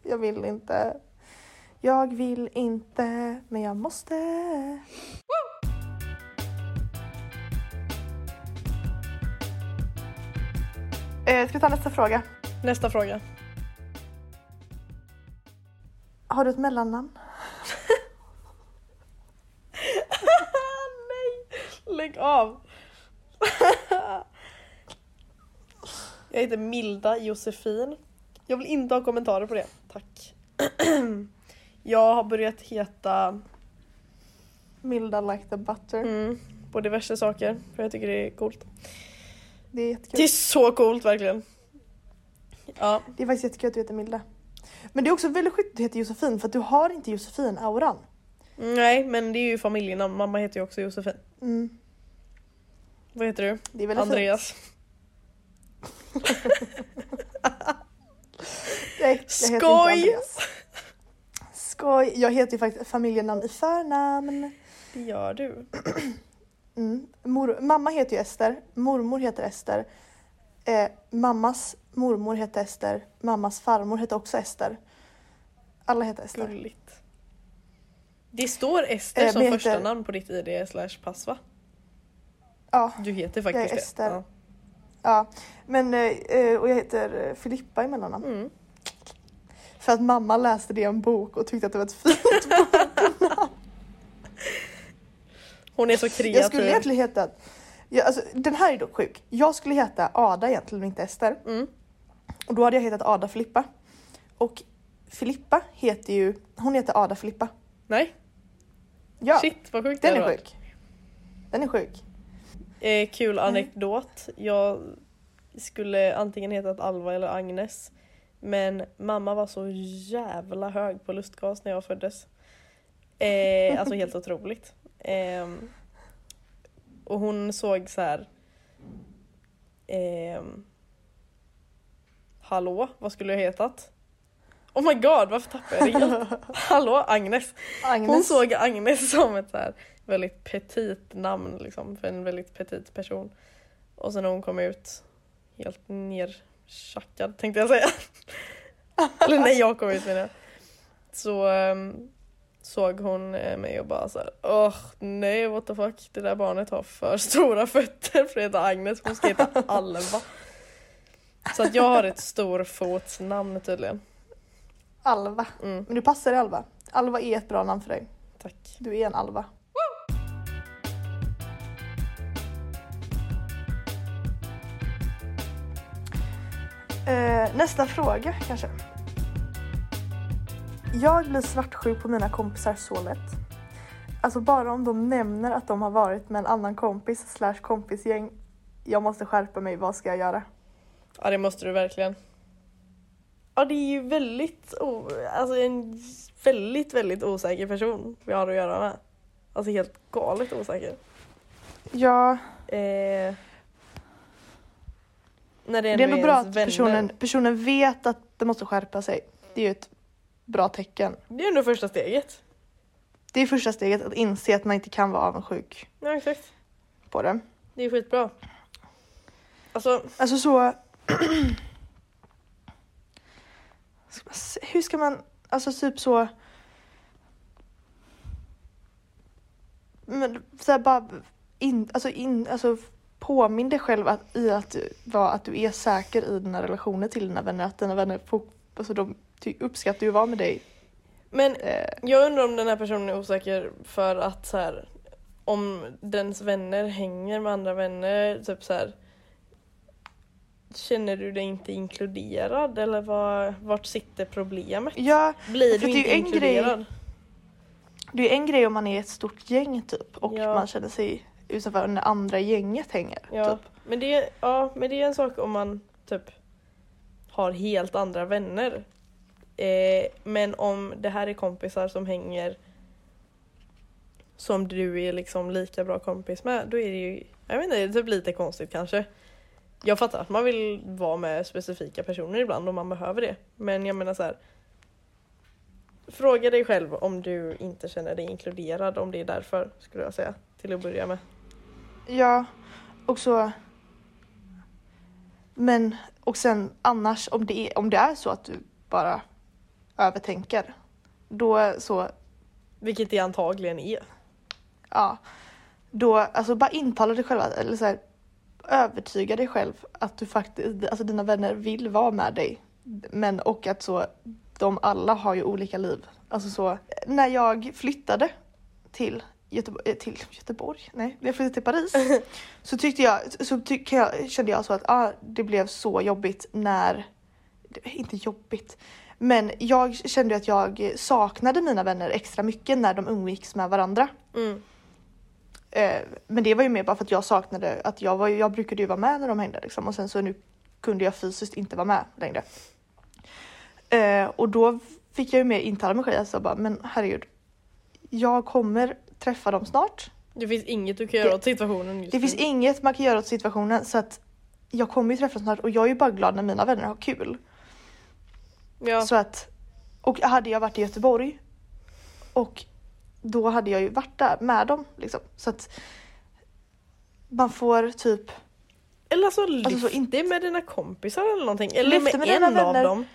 Speaker 1: jag vill inte. Jag vill inte, men jag måste. Eh, ska vi ta nästa fråga?
Speaker 2: Nästa fråga.
Speaker 1: Har du ett mellannamn?
Speaker 2: Nej! Lägg av! jag heter Milda Josefin. Jag vill inte ha kommentarer på det. Tack. jag har börjat heta
Speaker 1: Milda like the butter.
Speaker 2: mm, på diverse saker för jag tycker det är coolt.
Speaker 1: Det är
Speaker 2: Det är
Speaker 1: jättekul.
Speaker 2: så coolt verkligen. Ja,
Speaker 1: Det är faktiskt jättekul att du heter Milda. Men det är också väldigt sjukt att du heter Josefin för att du har inte Josefin-auran.
Speaker 2: nej men det är ju familjenamn. Mamma heter ju också Josefin.
Speaker 1: Mm,
Speaker 2: Vad heter du?
Speaker 1: det är väldigt
Speaker 2: Andreas.
Speaker 1: fint. Jag, jag Skoj! Heter
Speaker 2: Skoj!
Speaker 1: inte Andreas. Skoj! Jag heter ju faktiskt familjenamn i förnamn.
Speaker 2: Det gör du.
Speaker 1: Mm. Mor- mamma heter ju Ester, mormor heter Ester. Eh, mammas mormor hette Ester, mammas farmor hette också Ester. Alla heter Ester.
Speaker 2: Gulligt. Det står Ester
Speaker 1: Eh,
Speaker 2: som
Speaker 1: men jag
Speaker 2: första
Speaker 1: heter-
Speaker 2: namn på ditt ID slash pass va?
Speaker 1: Ja,
Speaker 2: Du heter faktiskt
Speaker 1: är
Speaker 2: det.
Speaker 1: Ester. ja. Men, eh, eh, och jag heter eh, Filippa i mellannamn.
Speaker 2: Ja. Mm.
Speaker 1: För att mamma läste det i en bok och tyckte att det var ett fint
Speaker 2: Hon är så kreativ. Mm.
Speaker 1: Jag skulle egentligen heta... Jag, alltså, den här är dock sjuk. Jag skulle heta Ada egentligen, inte Ester.
Speaker 2: Mm.
Speaker 1: Och då hade jag hetat Ada Filippa. Och Filippa heter ju... Hon heter Ada Filippa.
Speaker 2: Nej,
Speaker 1: Ja,
Speaker 2: shit vad sjukt
Speaker 1: den
Speaker 2: det
Speaker 1: är
Speaker 2: var.
Speaker 1: sjuk. Den är sjuk.
Speaker 2: Eh, kul anekdot. Jag skulle antingen hetat Alva eller Agnes. Men mamma var så jävla hög på lustgas när jag föddes. Eh, alltså helt otroligt. Ehm, och hon såg så här. ehm, Hallå, vad skulle jag hetat? Oh my god, varför tappade jag det helt? Hallå, Agnes.
Speaker 1: Agnes.
Speaker 2: Hon såg Agnes som ett så här väldigt petit namn liksom, för en väldigt petit person. Och sen när hon kom ut helt nerchackad tänkte jag säga. Eller när jag kom ut menar jag. Så ehm, såg hon eh, mig och bara så här, åh nej what the fuck, det där barnet har för stora fötter för att heta Agnes, hon ska heta Alva. Så att jag har ett storfotsnamn tydligen.
Speaker 1: Alva.
Speaker 2: Mm,
Speaker 1: Men du passar i Alva. Alva är ett bra namn för dig.
Speaker 2: tack.
Speaker 1: Du är en Alva. Eh, nästa fråga kanske. Jag blir svartsjuk på mina kompisar så lätt. Alltså bara om de nämner att de har varit med en annan kompis slash kompisgäng. Jag måste skärpa mig, vad ska jag göra?
Speaker 2: Ja det måste du verkligen. Ja det är ju väldigt, o- alltså en väldigt, väldigt osäker person vi har att göra med. Alltså helt galet osäker.
Speaker 1: Ja,
Speaker 2: Eh, när det,
Speaker 1: det är
Speaker 2: ändå
Speaker 1: nog bra
Speaker 2: ens
Speaker 1: att
Speaker 2: vänner.
Speaker 1: personen, personen vet att de måste skärpa sig. Det är ju ett bra tecken.
Speaker 2: Det är ändå första steget.
Speaker 1: Det är första steget, att inse att man inte kan vara avundsjuk
Speaker 2: Ja, exakt.
Speaker 1: på det.
Speaker 2: Det är skitbra. Alltså,
Speaker 1: Alltså så... Ska man se- Hur ska man, alltså typ så... Men så här bara in, alltså in, alltså påminn dig själv att, i att, du- vara att du är säker i dina relationer till dina vänner. Att dina vänner får, alltså de ty- uppskattar ju att vara med dig.
Speaker 2: men
Speaker 1: Eh,
Speaker 2: jag undrar om den här personen är osäker för att så här, om dens vänner hänger med andra vänner, typ så här. Känner du dig inte inkluderad eller var, vart sitter problemet?
Speaker 1: ja,
Speaker 2: Blir
Speaker 1: för
Speaker 2: du
Speaker 1: det är
Speaker 2: inte
Speaker 1: ju en grej-
Speaker 2: inkluderad?
Speaker 1: det är en grej om man är ett stort gäng typ och
Speaker 2: Ja.
Speaker 1: man känner sig utanför när andra gänget hänger.
Speaker 2: Ja,
Speaker 1: Typ.
Speaker 2: men det, ja, men det är en sak om man typ har helt andra vänner. Eh, men om det här är kompisar som hänger som du är liksom lika bra kompis med, då är det ju, jag vet inte, det är typ lite konstigt kanske. Jag fattar att man vill vara med specifika personer ibland om man behöver det. Men jag menar så här. Fråga dig själv om du inte känner dig inkluderad, om det är därför skulle jag säga till att börja med.
Speaker 1: Ja, och så... Men, och sen annars om det är, om det är så att du bara övertänker, då så,
Speaker 2: Vilket det antagligen är.
Speaker 1: ja. Då, alltså bara intala dig själv, eller så här, övertyga dig själv att du faktiskt, alltså dina vänner vill vara med dig. Men och att så, de alla har ju olika liv. Alltså så, när jag flyttade till Göteborg, eh, till Göteborg, nej, jag flyttade till Paris. Så tyckte jag, så tyck, jag, kände jag så att ah, det blev så jobbigt när, det- inte jobbigt, men jag kände att jag saknade mina vänner extra mycket när de umgicks med varandra.
Speaker 2: Mm.
Speaker 1: Eh, men det var ju mer bara för att jag saknade att jag, var, ju- jag brukade ju vara med när de hängde liksom, och sen så nu kunde jag fysiskt inte vara med längre. Eh, och då fick jag ju mer intala mig själv, alltså bara, men herregud, jag kommer träffa dem snart.
Speaker 2: Det finns inget du kan göra
Speaker 1: Det-
Speaker 2: åt situationen just
Speaker 1: Det finns
Speaker 2: nu.
Speaker 1: inget man kan göra åt situationen så att jag kommer ju träffas snart och jag är ju bara glad när mina vänner har kul.
Speaker 2: ja.
Speaker 1: Så att, och hade jag varit i Göteborg och då hade jag ju varit där med dem liksom. Så att man får typ,
Speaker 2: Eller så lyft
Speaker 1: så alltså, inte-
Speaker 2: det med dina kompisar eller någonting. Eller
Speaker 1: Lyft
Speaker 2: med,
Speaker 1: det med
Speaker 2: en
Speaker 1: dina
Speaker 2: av
Speaker 1: vänner.
Speaker 2: dem.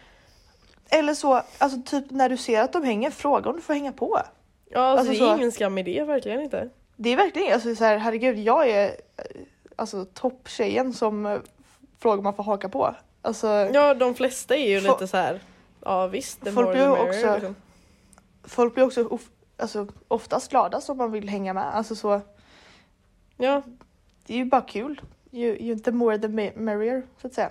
Speaker 1: eller så, alltså typ när du ser att de hänger, fråga om du får hänga på.
Speaker 2: Ja, alltså,
Speaker 1: Alltså
Speaker 2: det är
Speaker 1: så.
Speaker 2: ingen skam i det, verkligen inte.
Speaker 1: Det är verkligen, alltså så här, herregud jag är eh, alltså topptjejen som eh, frågar om man får haka på. Alltså,
Speaker 2: Ja, de flesta är ju
Speaker 1: Fo-
Speaker 2: lite så här. ja visst, det
Speaker 1: Folk
Speaker 2: var
Speaker 1: blir ju
Speaker 2: ju
Speaker 1: också-
Speaker 2: Liksom.
Speaker 1: folk blir också of, alltså, oftast glada som man vill hänga med. Alltså så,
Speaker 2: Ja,
Speaker 1: det är ju bara kul. Ju, ju the more the me- merrier, så att säga.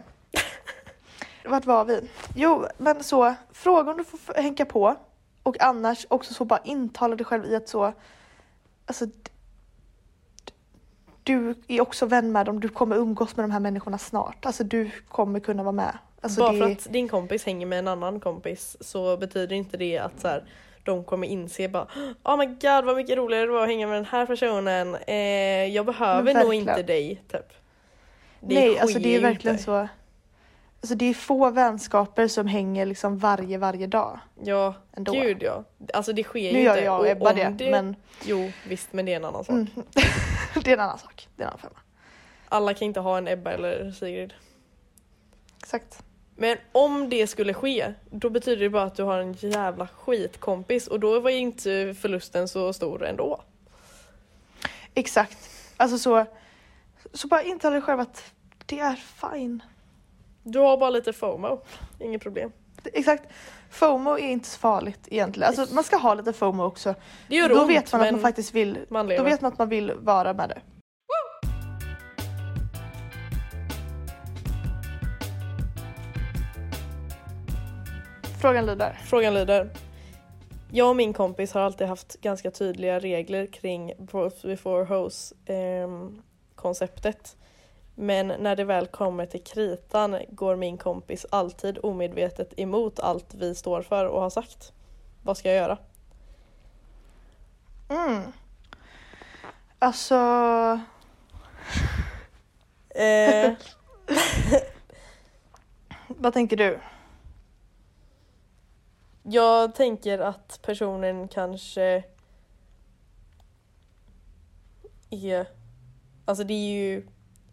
Speaker 1: Vart var vi? Jo, men så, fråga om du får f- hänga på. Och annars också så bara intala dig själv i att så, alltså d- d- du är också vän med dem, du kommer umgås med de här människorna snart. Alltså du kommer kunna vara med. Alltså,
Speaker 2: bara
Speaker 1: det,
Speaker 2: för att din kompis hänger med en annan kompis så betyder inte det att så här, de kommer inse bara Oh my god vad mycket roligare det var att hänga med den här personen. Eh, jag behöver nog
Speaker 1: verkligen.
Speaker 2: inte dig, typ. Det
Speaker 1: Nej,
Speaker 2: sker
Speaker 1: alltså det är
Speaker 2: ju
Speaker 1: verkligen
Speaker 2: inte.
Speaker 1: så. Alltså det är få vänskaper som hänger liksom varje, varje dag.
Speaker 2: Ja,
Speaker 1: Ändå.
Speaker 2: gud ja. Alltså det sker
Speaker 1: Nu
Speaker 2: ju
Speaker 1: gör
Speaker 2: inte.
Speaker 1: jag och
Speaker 2: Och
Speaker 1: Ebba
Speaker 2: om
Speaker 1: det, men
Speaker 2: Jo, visst men det är en annan sak.
Speaker 1: mm. det är en annan sak. Det är en annan femma.
Speaker 2: Alla kan inte ha en Ebba eller Sigrid.
Speaker 1: Exakt.
Speaker 2: Men om det skulle ske, då betyder det bara att du har en jävla skitkompis och då var ju inte förlusten så stor ändå.
Speaker 1: Exakt. Alltså så, så bara intala dig själv att det är fine.
Speaker 2: Du har bara lite FOMO, inget problem.
Speaker 1: Det- Exakt. FOMO är inte så farligt egentligen. Alltså man ska ha lite FOMO också.
Speaker 2: Det gör
Speaker 1: Då
Speaker 2: ont
Speaker 1: vet man
Speaker 2: men
Speaker 1: att man faktiskt vill,
Speaker 2: man
Speaker 1: då
Speaker 2: lever.
Speaker 1: vet man att man vill vara med det. Frågan lyder.
Speaker 2: Frågan lyder. Jag och min kompis har alltid haft ganska tydliga regler kring bros before hoes ehm, konceptet. Men när det väl kommer till kritan går min kompis alltid omedvetet emot allt vi står för och har sagt. Vad ska jag göra?
Speaker 1: Mm. Alltså,
Speaker 2: Eh,
Speaker 1: vad tänker du?
Speaker 2: jag tänker att personen kanske är... Alltså det är ju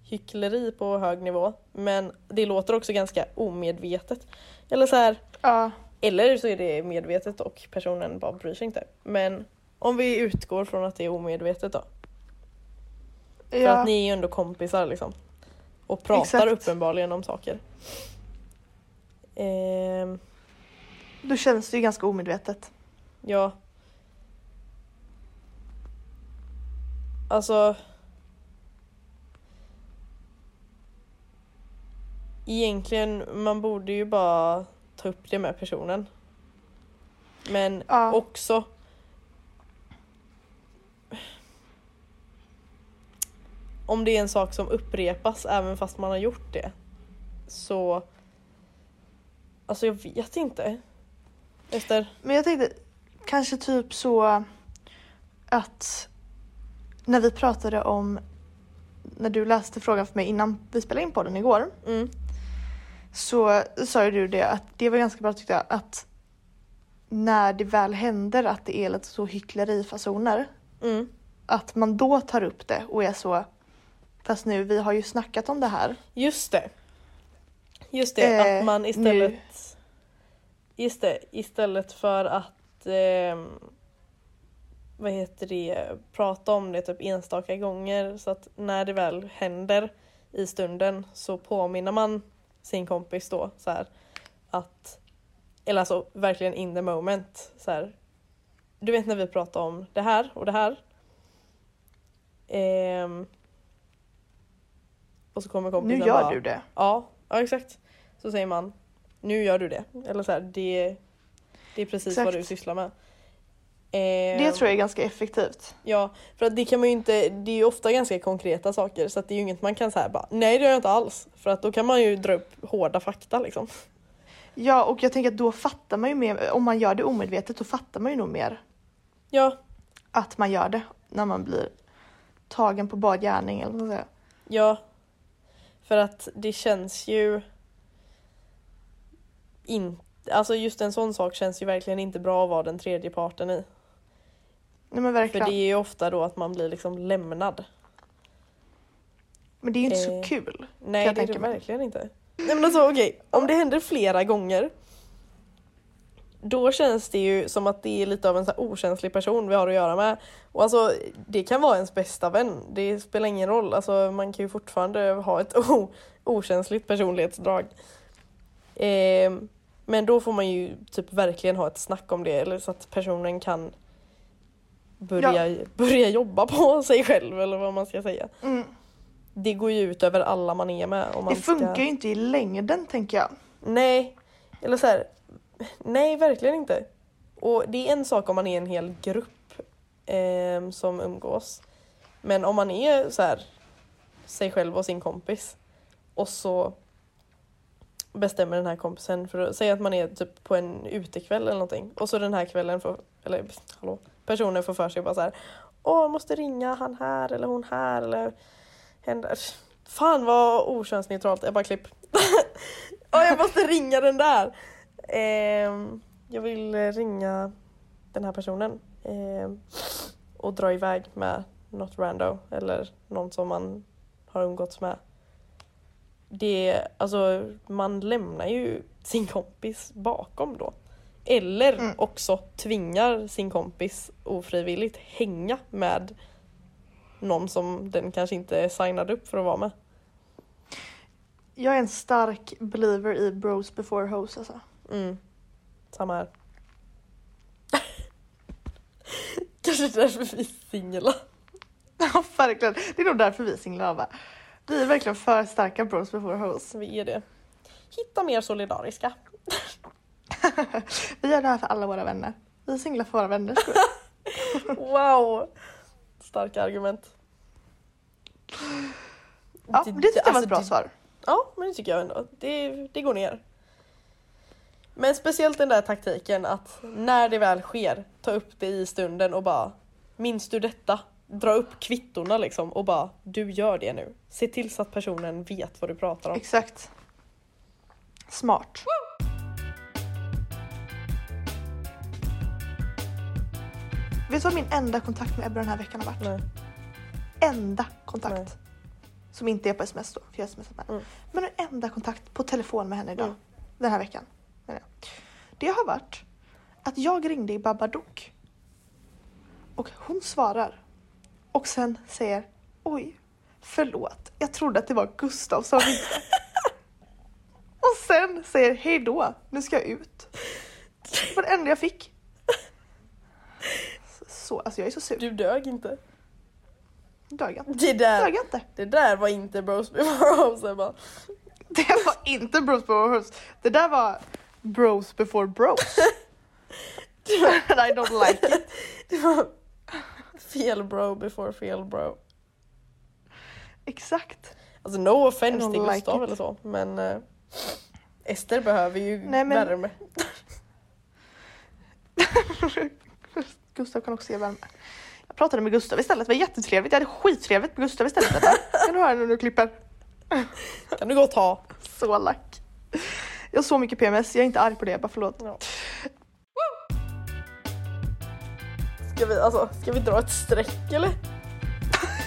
Speaker 2: hyckleri på hög nivå men det låter också ganska omedvetet. Eller så här,
Speaker 1: Ja.
Speaker 2: eller så är det medvetet och personen bara bryr sig inte. Men om vi utgår från att det är omedvetet då. För
Speaker 1: ja.
Speaker 2: att ni är ju ändå kompisar liksom. Och pratar
Speaker 1: Exakt.
Speaker 2: uppenbarligen om saker. Ehm,
Speaker 1: Då känns det ju ganska omedvetet.
Speaker 2: ja. Alltså. Egentligen, man borde ju bara ta upp det med personen. Men
Speaker 1: Ja.
Speaker 2: också. Om det är en sak som upprepas även fast man har gjort det. Så. Alltså jag vet inte. Efter.
Speaker 1: Men jag tänkte kanske typ så att när vi pratade om när du läste frågan för mig innan vi spelade in podden igår
Speaker 2: Mm.
Speaker 1: så sa ju du det att det var ganska bra tyckte jag att när det väl händer att det är lite så hycklerifasoner
Speaker 2: Mm.
Speaker 1: att man då tar upp det och är så fast nu vi har ju snackat om det här.
Speaker 2: Just det. Just det,
Speaker 1: Eh,
Speaker 2: att man
Speaker 1: nu.
Speaker 2: istället... Just det, istället för att... ehm, vad heter det? Prata om det typ enstaka gånger så att när det väl händer i stunden så påminner man sin kompis då så här att... Eller alltså verkligen in the moment. Så här, du vet när vi pratar om det här och det här. Ehm, och så kommer
Speaker 1: Nu
Speaker 2: kompisen
Speaker 1: gör
Speaker 2: bara,
Speaker 1: du det.
Speaker 2: Ja, ja exakt. Så säger man nu gör du det. Eller så här, det, det är precis vad
Speaker 1: Exakt.
Speaker 2: du sysslar med. Ehm.
Speaker 1: Det tror jag är ganska effektivt.
Speaker 2: Ja, för att det kan man ju inte, det är ju ofta ganska konkreta saker så att det är ju inget man kan säga bara nej det gör jag inte alls. För att då kan man ju dra upp hårda fakta liksom.
Speaker 1: Ja och jag tänker att då fattar man ju mer, om man gör det omedvetet då fattar man ju nog mer
Speaker 2: Ja,
Speaker 1: att man gör det när man blir tagen på bar gärning eller vad man säger.
Speaker 2: ja. För att det känns ju inte, alltså just en sån sak känns ju verkligen inte bra att vara den tredje parten i.
Speaker 1: Nej men
Speaker 2: För
Speaker 1: verkligen.
Speaker 2: det är ju ofta då att man blir liksom lämnad.
Speaker 1: men det är ju inte
Speaker 2: eh,
Speaker 1: så kul.
Speaker 2: Nej
Speaker 1: jag
Speaker 2: det är det
Speaker 1: tänka mig.
Speaker 2: verkligen inte. Nej men alltså okej, om det händer flera gånger då känns det ju som att det är lite av en så här okänslig person vi har att göra med. Och alltså det kan vara ens bästa vän, det spelar ingen roll. Alltså man kan ju fortfarande ha ett o- okänsligt personlighetsdrag. Ehm, men då får man ju typ verkligen ha ett snack om det eller så att personen kan börja, börja jobba på sig själv eller vad man ska säga.
Speaker 1: Mm.
Speaker 2: Det går ju ut över alla man är med. Om man
Speaker 1: Det funkar
Speaker 2: ska...
Speaker 1: ju inte i längden tänker jag.
Speaker 2: Nej, eller så här, nej verkligen inte. Och det är en sak om man är en hel grupp ehm, som umgås. Men om man är så här, sig själv och sin kompis och så bestämmer den här kompisen för att säga att man är typ på en utekväll eller någonting och så den här kvällen får, eller hallå, personen får för sig bara så här Åh, jag måste ringa han här eller hon här eller händer. Fan vad okönsneutralt. Jag bara klipp. Åh, jag måste ringa den där. Ehm, jag vill eh, ringa den här personen ehm, och dra iväg med något rando eller någon som man har umgåtts med. Det, alltså, man lämnar ju sin kompis bakom då. Eller
Speaker 1: Mm.
Speaker 2: också tvingar sin kompis ofrivilligt hänga med någon som den kanske inte signade upp för att vara med.
Speaker 1: Jag är en stark believer i bros before hoes alltså.
Speaker 2: Mm. Samma här. Kanske därför vi är singlar.
Speaker 1: Ja verkligen. Det är nog därför vi singlar va? Vi är verkligen för starka bros before hoes.
Speaker 2: Alltså, Vi är det. Hitta mer solidariska.
Speaker 1: Vi gör det här för alla våra vänner. Vi är singlar för våra vänner. tror jag.
Speaker 2: Wow! Starka argument.
Speaker 1: Ja, men det tyckte jag var ett bra
Speaker 2: Alltså, det-
Speaker 1: svar.
Speaker 2: Ja, men det tycker jag ändå. Det, det går ner. Men speciellt den där taktiken att när det väl sker, ta upp det i stunden och bara Minns du detta? Dra upp kvittorna liksom och bara du gör det nu. Se till så att personen vet vad du pratar om.
Speaker 1: Exakt. Smart. Vet du vad min enda kontakt med Ebba den här veckan har varit?
Speaker 2: Nej.
Speaker 1: enda kontakt.
Speaker 2: Nej.
Speaker 1: Som inte är på sms då, för jag smsar med henne.
Speaker 2: Mm.
Speaker 1: Men en enda kontakt på telefon med henne idag.
Speaker 2: Mm.
Speaker 1: Den här veckan. menar jag. Det har varit att jag ringde i Babadook. Och hon svarar. Och sen säger Oj, förlåt. Jag trodde att det var Gustav som ringde. och sen säger Hej då, nu ska jag ut. Det var det enda jag fick. Så, alltså jag är så sur.
Speaker 2: Du dög inte.
Speaker 1: Dög jag inte.
Speaker 2: Det där,
Speaker 1: Dög jag inte.
Speaker 2: det där var inte bros before homes Ebba.
Speaker 1: Det var inte bros before bros. Det där var bros before bros. And I don't like it.
Speaker 2: Det var fel bro before fel bro.
Speaker 1: Exakt.
Speaker 2: Alltså no offense
Speaker 1: I don't
Speaker 2: till
Speaker 1: like
Speaker 2: Gustav
Speaker 1: it.
Speaker 2: eller så men eh, Ester behöver ju
Speaker 1: Nej, men-
Speaker 2: värme.
Speaker 1: Gustav kan också ge värme. Jag pratade med Gustav istället, det var jättetrevligt. Jag hade skittrevligt med Gustav istället. Ebba. Kan du höra när du klipper?
Speaker 2: Kan du gå och ta?
Speaker 1: Så lack. Jag har så mycket PMS, jag är inte arg på det, jag bara förlåt.
Speaker 2: Ja. Ska vi, alltså, ska vi dra ett streck eller?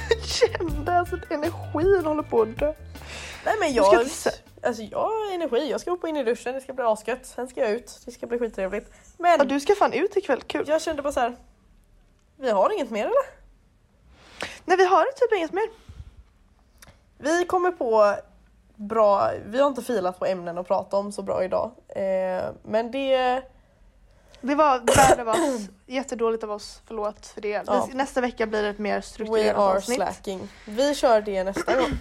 Speaker 1: Jag kände alltså att energin håller på att dö.
Speaker 2: Nej men
Speaker 1: Du ska
Speaker 2: jag,
Speaker 1: inte sä-
Speaker 2: alltså, jag har energi, jag ska hoppa in i duschen, det ska bli asgött, sen ska jag ut, det ska bli skittrevligt. Men
Speaker 1: Ja, du ska fan ut ikväll, kul.
Speaker 2: jag kände bara så här. vi har inget mer eller?
Speaker 1: Nej vi har typ inget mer.
Speaker 2: Vi kommer på bra, vi har inte filat på ämnen att prata om så bra idag. Eh, men det,
Speaker 1: Det var bad av oss, jättedåligt av oss, förlåt för det.
Speaker 2: Ja.
Speaker 1: Näs- Nästa vecka blir det ett mer
Speaker 2: we
Speaker 1: strukturerat
Speaker 2: are
Speaker 1: avsnitt. Eh,
Speaker 2: slacking. Vi kör det nästa gång.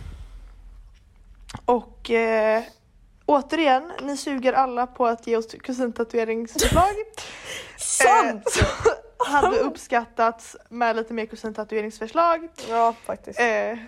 Speaker 1: Och eh, återigen, ni suger alla på att ge oss kusintatueringsförslag.
Speaker 2: Sant!
Speaker 1: Eh, så hade uppskattats med lite mer kusintatueringsförslag.
Speaker 2: Ja faktiskt.
Speaker 1: Eh,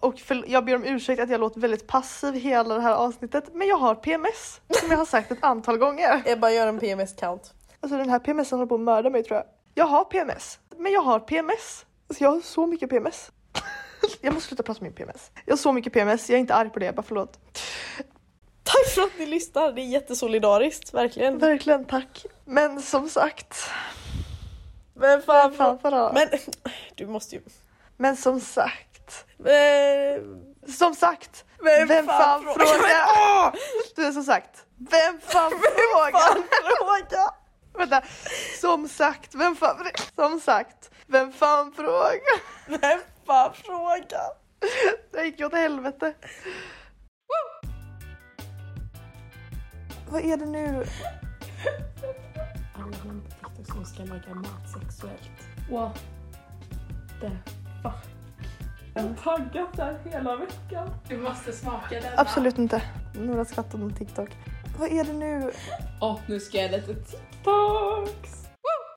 Speaker 1: och för, jag ber om ursäkt att jag låter väldigt passiv hela det här avsnittet men jag har PMS som jag har sagt ett antal gånger.
Speaker 2: Ebba gör en PMS-count.
Speaker 1: Alltså den här PMSen håller på att mörda mig tror jag. Jag har PMS, men jag har PMS. Alltså jag har så mycket PMS. jag måste sluta prata om min PMS. Jag har så mycket PMS, jag är inte arg på det, jag bara förlåt.
Speaker 2: Tack för att ni lyssnar, det är jättesolidariskt verkligen.
Speaker 1: Verkligen tack. Men som sagt,
Speaker 2: Men fan,
Speaker 1: fan för alla.
Speaker 2: Men du måste ju...
Speaker 1: Men som sagt,
Speaker 2: Men,
Speaker 1: som sagt,
Speaker 2: Vem
Speaker 1: vem,
Speaker 2: fan
Speaker 1: fan,
Speaker 2: frågar?
Speaker 1: frågar? Du är som sagt, vem fan frågar?
Speaker 2: fan fråga!
Speaker 1: Vänta, som sagt, vem fan, som sagt, vem fan frågar?
Speaker 2: Vem fan fråga?
Speaker 1: Det gick åt helvete. Vad är det nu?
Speaker 3: alla hantverkare som ska laga mat sexuellt. What the fuck? Jag har taggat där hela veckan. Du måste smaka den.
Speaker 1: Absolut inte. Några skrattar om TikTok. Vad är det nu?
Speaker 3: Och nu ska jag lite TikToks.